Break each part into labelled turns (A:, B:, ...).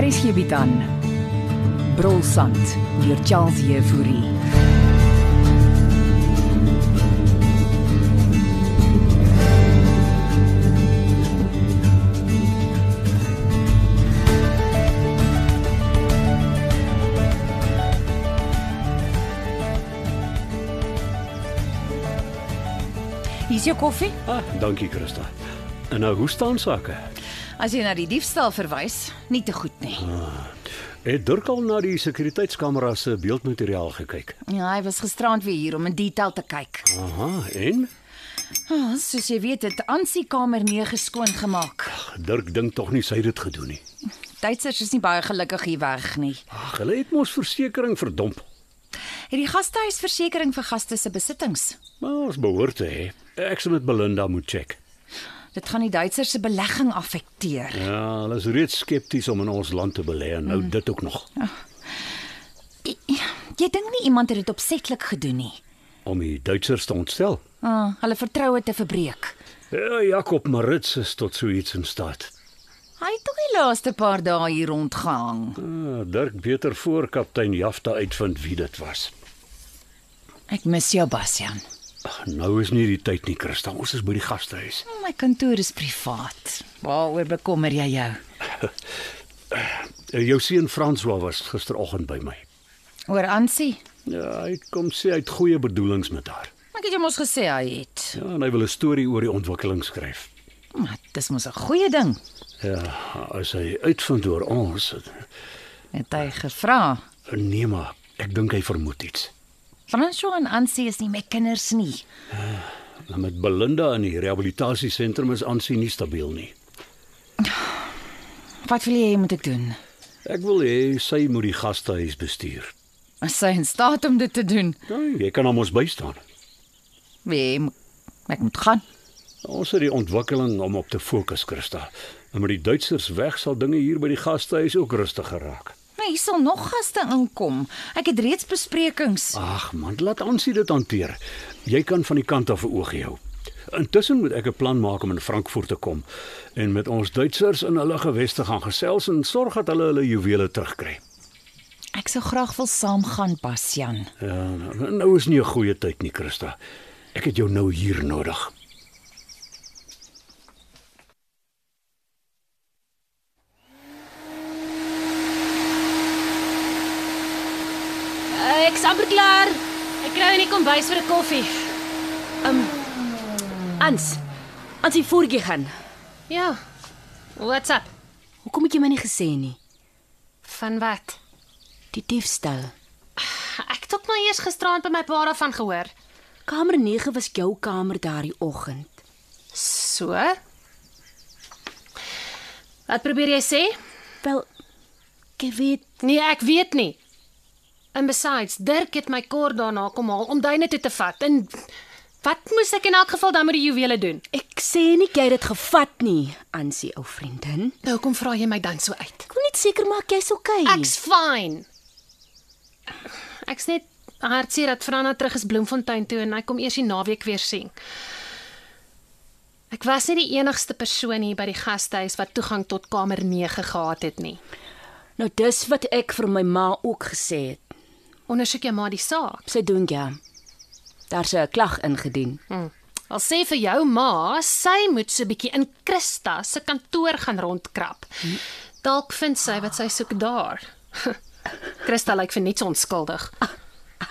A: Hier is hierby dan. Brolsand deur Charles Euphorie.
B: Hier is jou koffie.
C: Ah, dankie Christa. En nou, hoe staan sake?
B: As jy na die diefstal verwys, nie te goed nie.
C: Het Dirk al na die sekuriteitskamera se beeldmateriaal gekyk?
B: Ja, hy was gisterand weer hier om in detail te kyk.
C: Aha, en
B: Oh, soos jy weet, het Ansie kamer 9 skoon gemaak.
C: Dirk dink tog nie sy het dit gedoen nie.
B: Duitsers is nie baie gelukkig hier weg nie.
C: Ag, hulle het mos versekerings verdomp.
B: Het die gastehuisversekering vir gaste se besittings.
C: Maar ons behoort te hê. Ek sal met Belinda moet check.
B: Dit gaan die Duitsers se belegging affekteer.
C: Ja, hulle is reeds skepties om in ons land te belê en nou mm. dit ook nog.
B: Jy dink nie iemand het dit opsetlik gedoen nie.
C: Om die Duitsers te ontstel.
B: Ah, hulle vertroue te verbreek.
C: Ja, Jakob Marits is tot so iets in staat.
B: Hy het tog die laaste paar dae hier rondgehang.
C: Ah, Dirk beter voor kaptein Jafta uitvind wie dit was.
B: Ek mis jou, Bastian.
C: Ag, nou is nie die tyd nie, Christa. Ons is by die gastehuis.
B: Oh, My kantoor is privaat. Waaroor bekommer jy jou?
C: Eh, Jou seun François was gisteroggend by my.
B: Oor Ansie.
C: Ja, hy kom sê hy het goeie bedoelings met haar.
B: Ek het jou mos gesê hy het.
C: Ja, en hy wil 'n storie oor die ontwikkeling skryf.
B: Maar dis mos 'n goeie ding.
C: Ja, as hy uitvind oor ons,
B: Het hy gevra.
C: nee maar, ek dink hy vermoed iets.
B: Fransjo en Ansie is nie my kinders nie.
C: En Nou, met Belinda in die rehabilitasiesentrum is aansien nie stabiel nie.
B: Wat wil jy hê moet ek doen?
C: Ek wil hê sy moet die gastehuis bestuur.
B: Is sy in staat om dit te doen?
C: Ja, jy kan hom ons bystaan.
B: Nee, m- ek moet gaan.
C: Ons het die ontwikkeling om op te fokus, Christa. En met die Duitsers weg sal dinge hier by die gastehuis ook rustiger raak.
B: Maar hier sal nog gaste inkom. Ek het reeds besprekings.
C: Ag man, laat ons dit hanteer. Jy kan van die kant af 'n oogie hou. Intussen moet ek 'n plan maak om in Frankfurt te kom en met ons Duitsers in hulle geweste gaan gesels en sorg dat hulle hulle juwele terugkry.
B: Ek sou graag wil saamgaan, Bastian.
C: Ja, nou- nou is nie 'n goeie tyd nie, Christa. Ek het jou nou hier nodig.
D: Ek is Eh, amper klaar. Ek kry in die kombuis vir 'n koffie.
E: Ans. Ans het voortjie gaan.
D: Ja. What's up?
E: Hoekom het jy my nie gesê nie?
D: Van wat?
E: Die diefstal.
D: Ek het ook maar eers gisteraand by my pa daarvan gehoor.
E: Kamer 9 was jou kamer daardie oggend.
D: So. Wat probeer jy sê?
E: Wel, ek weet
D: Nee, ek weet nie. And besides, Dirk het my kort daarna kom haal om duine toe te vat. En wat moes ek in elk geval dan met die juwele doen?
E: ek sê nie jy het dit gevat nie, Ansie ou vriendin.
D: Nou hoekom vra jy my dan so uit?
E: Ek wil net seker maak jy's okay.
D: Ek's fyn. Ek's net hartseer dat Franna terug is Bloemfontein toe en hy kom eers die naweek weer sien. Ek was nie die enigste persoon hier by die gastehuis wat toegang tot kamer 9 gehad het nie.
E: nou dis wat ek vir my ma ook gesê het.
D: Ondersoek jy maar die saak.
E: Sy doen ja. Daar's 'n klag ingedien.
D: Hm. Al sê vir jou ma, sy moet so 'n bietjie in Christa se kantoor gaan rondkrap. Dalk vind sy wat sy soek daar. Christa lyk vir niks onskuldig.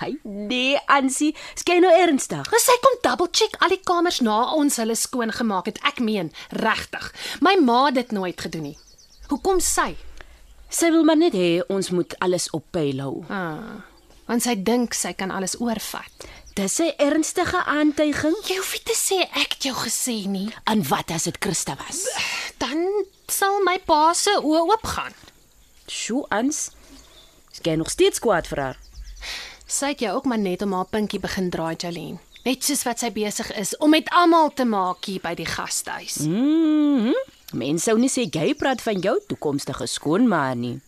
E: Ai nee, Ansie, skyn nou ernstig.
D: Maar sy kom double check al die kamers na ons hulle skoon gemaak het. Ek meen, regtig. My ma het dit nooit gedoen nie. Hoekom sy?
E: Sy wil maar net hê ons moet alles op pyl hou.
D: Ah, want sy dink sy kan alles oorvat.
E: Dis 'n ernstige aantuiging.
D: Jy hoef nie te sê ek het jou gesê nie.
E: En wat as dit Christa was?
D: Dan sal my pa se oë oopgaan.
E: Sjoe, Ans. Skyn nog steeds kwaad vir haar.
D: Sy het jou ook maar net om haar pinkie begin draai, Jolene. Hmm? Net soos wat sy besig is om met almal te maak hier by die gastehuis.
E: Mhm. Mm Mense sou nie sê jy praat van jou toekomstige skoonma nie.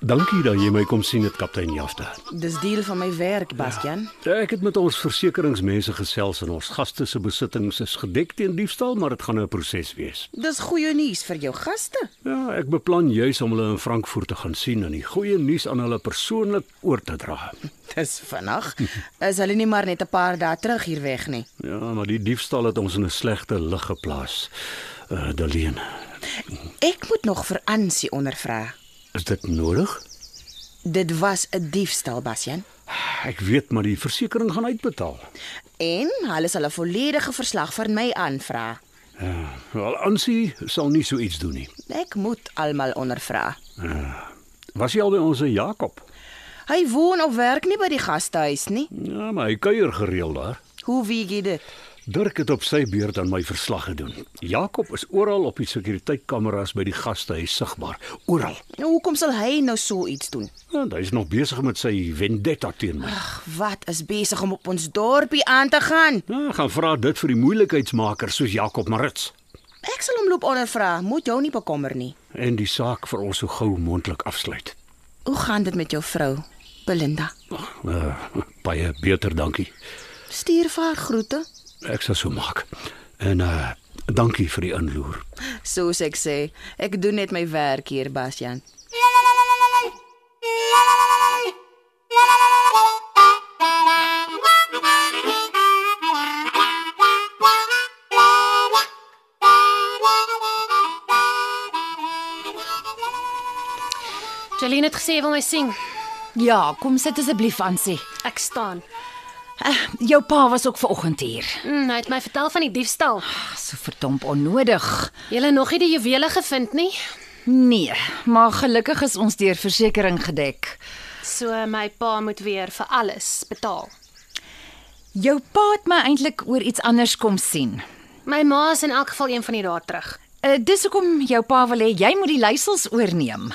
C: Dankie dat jy my kom sien, dit kaptein Jafta.
F: Dis deel van my werk, Bastian.
C: Ek het met ons versekeringsmense gesels en ons gaste se besittings is gedek teen diefstal, maar dit gaan nou 'n proses wees.
F: Dis goeie nuus vir jou gaste.
C: Ja, ek beplan juis om hulle in Frankfurt te gaan sien en die goeie nuus aan hulle persoonlik oor te dra.
F: Dis vinnig. Is hulle nie maar net 'n paar dae terug hier weg nie.
C: Ja, maar die diefstal het ons in 'n slegte lig geplaas. Uh, Daleen,
F: Ek moet nog vir Ansie ondervra.
C: is dit nodig?
F: Dit was 'n diefstal, Bastian.
C: Ek weet maar die versekering gaan uitbetaal.
F: En hulle sal 'n volledige verslag van my aanvra.
C: Ja, wel Ansie sal nie so iets doen nie.
F: Ek moet almal ondervra.
C: Was jy al by ons in Jakob?
F: Hy woon of werk nie by die gastehuis nie.
C: Ja, maar hy kuier gereeld daar.
F: Hoe weet jy dit?
C: Dirk het op sy beurt aan my verslag gedoen. Jakob is oral op die sekuriteitkameras by die gastehuis sigbaar, oral.
F: Hoekom sal hy nou so iets doen?
C: Want hy's nog besig met sy vendetta teen my.
F: Ag, wat is besig om op ons dorpie aan te gaan?
C: Ja, gaan vra dit vir die moeilikheidsmaker soos Jakob Marits
F: Ek sal hom loop ondervra, moet jou nie bekommer nie.
C: en die saak vir ons so gou moontlik afsluit.
F: Hoe gaan dit met jou vrou, Belinda?
C: Uh, baie beter, dankie.
F: Stuur vir haar groete.
C: Ek sal so maak. En uh dankie vir die inloer.
F: Soos ek sê, ek doen net my werk hier, Bastian.
D: Jolene het gesê jy wil my sien.
B: Ja, kom sit asseblief aan sê.
D: Ek staan.
B: Jou pa was ook ver oggend hier.
D: Mm, hy het my vertel van die diefstal.
B: Ag, so verdomp onnodig.
D: Jy het nog nie die juwele gevind nie.
B: Nee, maar gelukkig is ons deur versekerings gedek.
D: So my pa moet weer vir alles betaal.
B: Jou pa het my eintlik oor iets anders kom sien.
D: My ma is in elk geval een van die dae terug.
B: Uh, dis hoekom jou pa wil hê jy moet die leiersels oorneem.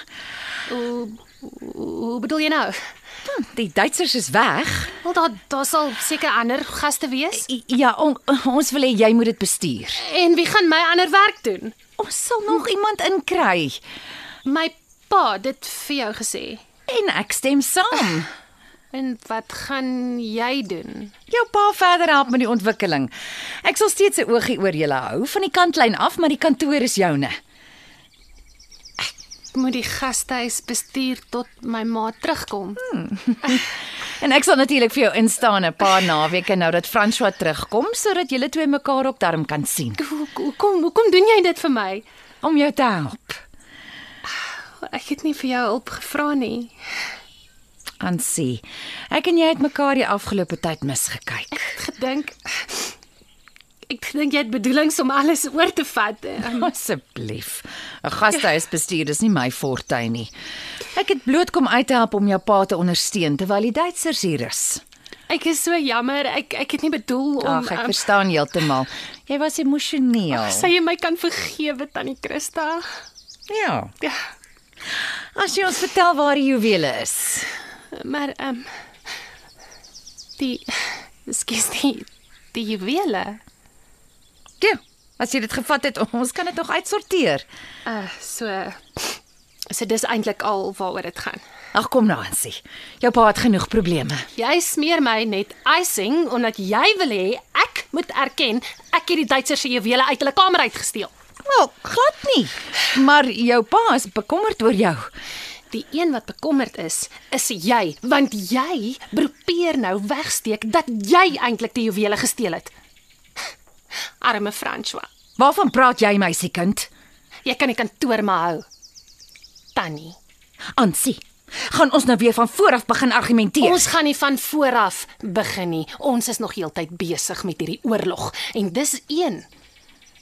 D: Hoe bedoel jy nou?
B: Hm, Die Duitsers is weg.
D: Wel daar daar sal seker ander gaste wees.
B: I- Ja, on, ons wil hê jy moet dit bestuur.
D: En wie gaan my ander werk doen?
B: Ons sal nog iemand inkry
D: My pa het dit vir jou gesê.
B: en ek stem saam.
D: En wat gaan jy doen?
B: Jou pa verder help met die ontwikkeling. Ek sal steeds 'n oogie oor julle hou van die kantlyn af, maar die kantoor is joune.
D: Moet die gastehuis bestuur tot my ma terugkom.
B: En ek sal natuurlik vir jou instaan 'n paar naweke nou dat François terugkom sodat julle twee mekaar op darm kan sien
D: Hoe- Hoekom hoekom doen jy dit vir my?
B: om jou te help.
D: Ek het nie vir jou hulp gevra nie.
B: Ansie, ek en jy het mekaar die afgelope tyd misgekyk.
D: Ek het gedink ek dink jy het bedoelings om alles oor te vat. Ehm,
B: Asseblief. 'n Gastehuisbestuur is nie my fortuin nie. Ek het bloot kom uit te help om jou pa te ondersteun terwyl die Duitsers hier is.
D: Ek is so jammer. Ek ek het nie bedoel om
B: Ag, ek
D: ehm,
B: verstaan heeltemal. Jy was emosioneel.
D: sê jy my kan vergewe tannie Christa.
B: Ja.
D: Ja,
B: As jy ons vertel waar die juwele is.
D: maar ehm um, die skus die die juwele.
B: Ja. As jy dit gevat het, ons kan dit nog uitsorteer.
D: Uh so so dis eintlik al waaroor dit gaan.
B: Ag kom nou, Ansie. Jou pa het genoeg probleme.
D: Jy smeer my net icing omdat jy wil hê ek moet erken ek het die Duitsers se juwele uit hulle kamer uitgesteel.
B: Wel, glad nie. Maar jou pa is bekommerd oor jou.
D: Die een wat bekommerd is, is jy, want jy probeer nou wegsteek dat jy eintlik die juwele gesteel het. Arme François.
B: Waarvan praat jy, meisiekind?
D: Jy kan die kantoor maar hou. Tannie.
B: Ansie, gaan ons nou weer van voor af begin argumenteer?
D: Ons gaan nie van vooraf begin nie. Ons is nog heeltyd besig met hierdie oorlog en dis een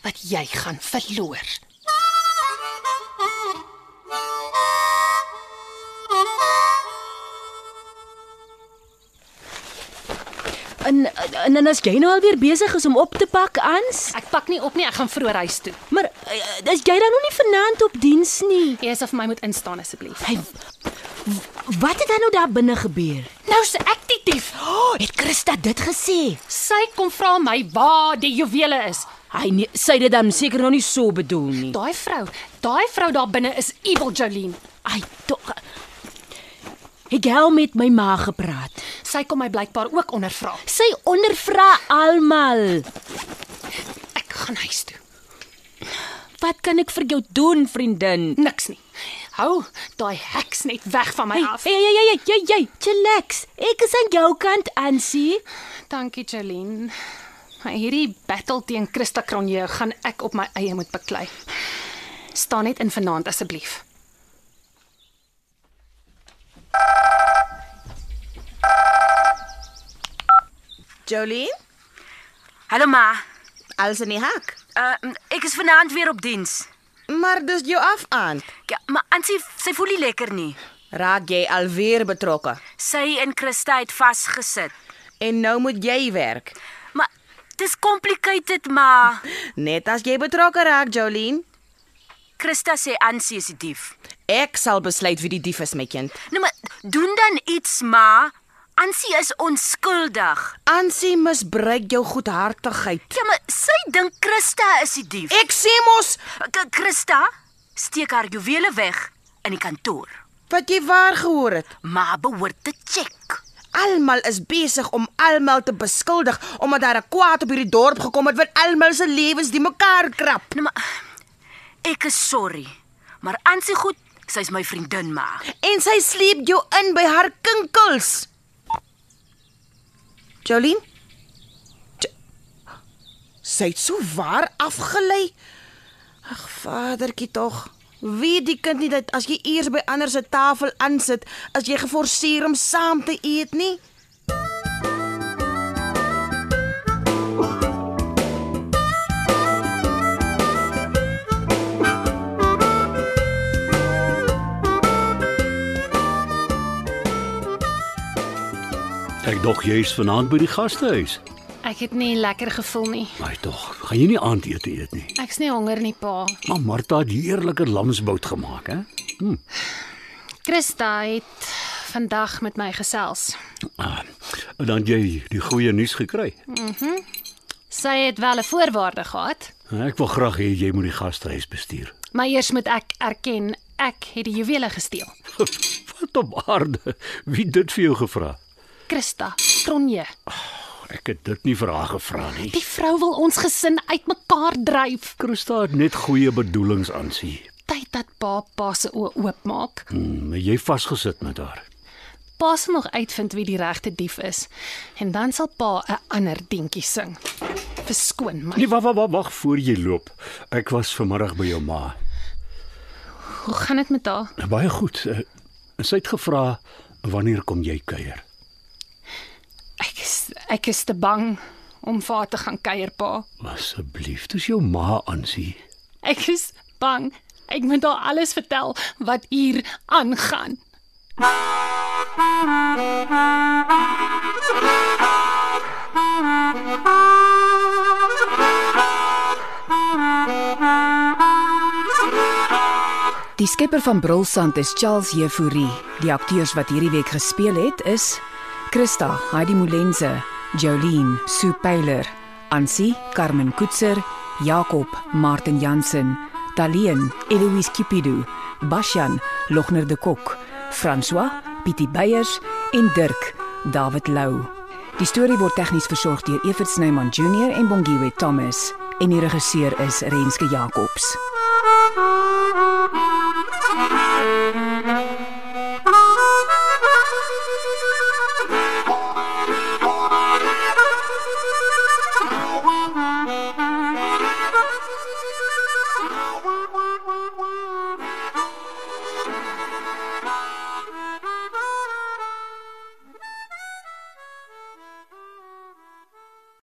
D: wat jy gaan verloor.
E: En en en as jy nou al weer besig is om op te pak, Ans?
D: Ek pak nie op nie, ek gaan vroeg huis toe.
E: Maar eh, is jy dan nog nie vanaand op diens nie?
D: Jy is of my moet instaan asseblief.
E: Hy Wat het dan nou daar binne gebeur?
D: Nou se ek die dief.
E: Oh, het Christa dit gesê?
D: Sy kom vra my waar die juwele is.
E: Hy nee, sy het dit dan seker nog nie so bedoel nie.
D: Daai vrou, daai vrou daar binne is evil Jolene.
E: Ai, tog. Ek het al met my ma gepraat.
D: Sy kom my blykbaar ook ondervra.
E: Sy ondervra almal.
D: Ek gaan huis toe.
E: Wat kan ek vir jou doen, vriendin?
D: Niks nie. Hou daai heks net weg van my
E: Hey,
D: af.
E: hey, hey, hey, hey, hey, chillax. Ek is aan jou kant, Ansie.
D: Dankie Jolene. Maar hierdie battle teen Christa Cronje gaan ek op my eie moet beklei. Staan net in vanaand asseblief.
F: Jolene,
E: Hallo ma.
F: alles in die hak.
E: Uh, ek is vanaand weer op diens.
F: Maar dis jou af aan.
E: Ja, maar Ansie, sy voel nie lekker nie.
F: Raak jy alweer betrokke
E: Sy en Christa het vasgesit.
F: en nou moet jy werk.
E: Maar dis complicated, ma.
F: Net as jy betrokke raak, Jolene,
E: Christa sê Ansie is die dief.
F: ek sal besluit wie die dief is, my kind.
E: Nou maar doen dan iets, ma. Ansie is onskuldig.
F: Ansie misbruik jou goedhartigheid.
E: Ja, maar sy dink Christa is die dief.
F: Ek sê mos
E: K- Christa steek haar juwele weg in die kantoor.
F: wat jy waar gehoor het.
E: Ma behoort te check.
F: Almal is besig om almal te beskuldig omdat daar 'n kwaad op hierdie dorp gekom het wat almal se lewens die mekaar krap.
E: Nou maar ek is sorry, maar Ansie goed, sy's my vriendin ma.
F: En sy sleep jou in by haar kinkels. Jolien? Jo sy het so waar afgelei. Ag vadertjie tog. Wie die kind nie dat as jy eers by ander se tafel aansit, as jy geforseer om saam te eet nie.
C: Ek dog jy's vanaand by die gastehuis.
D: Ek het nie lekker gevoel nie.
C: Maar tog, gaan jy nie aandete eet nie.
D: Ek's nie honger nie, pa.
C: Maar Martha het heerlike lamsbout gemaak, hè?
D: Christa het vandag met my gesels.
C: Ah, en dan het jy die goeie nuus gekry.
D: Sy het wel 'n voorwaarde gehad,
C: Ek wil graag hê jy moet die gastehuis bestuur.
D: maar eers moet ek erken ek het die juwele gesteel.
C: Wat op aarde? Wie het dit vir jou gevra?
D: Christa, Cronje,
C: Ek het dit nie vir haar gevra nie.
D: die vrou wil ons gesin uitmekaar dryf.
C: Christa het net goeie bedoelings aan sien.
D: Tyd dat pa pa se oë oopmaak.
C: Hmm, jy vasgesit met haar.
D: Pa sal nog uitvind wie die regte dief is en dan sal pa 'n ander deuntjie sing. Verskoon my.
C: Nee, wag wag wag wag voor jy loop. Ek was vanmiddag by jou ma.
D: Hoe gaan dit met haar?
C: Baie goed. Eh, Sy het gevra wanneer kom jy kuier?
D: Ek is ek is te bang om vir haar te gaan kuier, pa.
C: Asseblief, dis jou ma aansie.
D: Ek is bang. Ek moet haar alles vertel wat hier aangaan.
A: Die skepper van Brulsand is Charles Jefouri. Die akteurs wat hierdie week gespeel het is Christa, Heidi Molenze, Jolene, Sue Pyler, Ansie, Carmen Koetser, Jakob, Martin Jansen, Daleen, Eloise Kipidu, Bashan, Logner de Kok, François, Pietie Beyers en Dirk, David Lou. Die storie word tegnies versorg deur Evert Snyman Junior en Bongwe Thomas en die regisseur is Renske Jacobs.
G: Thank you.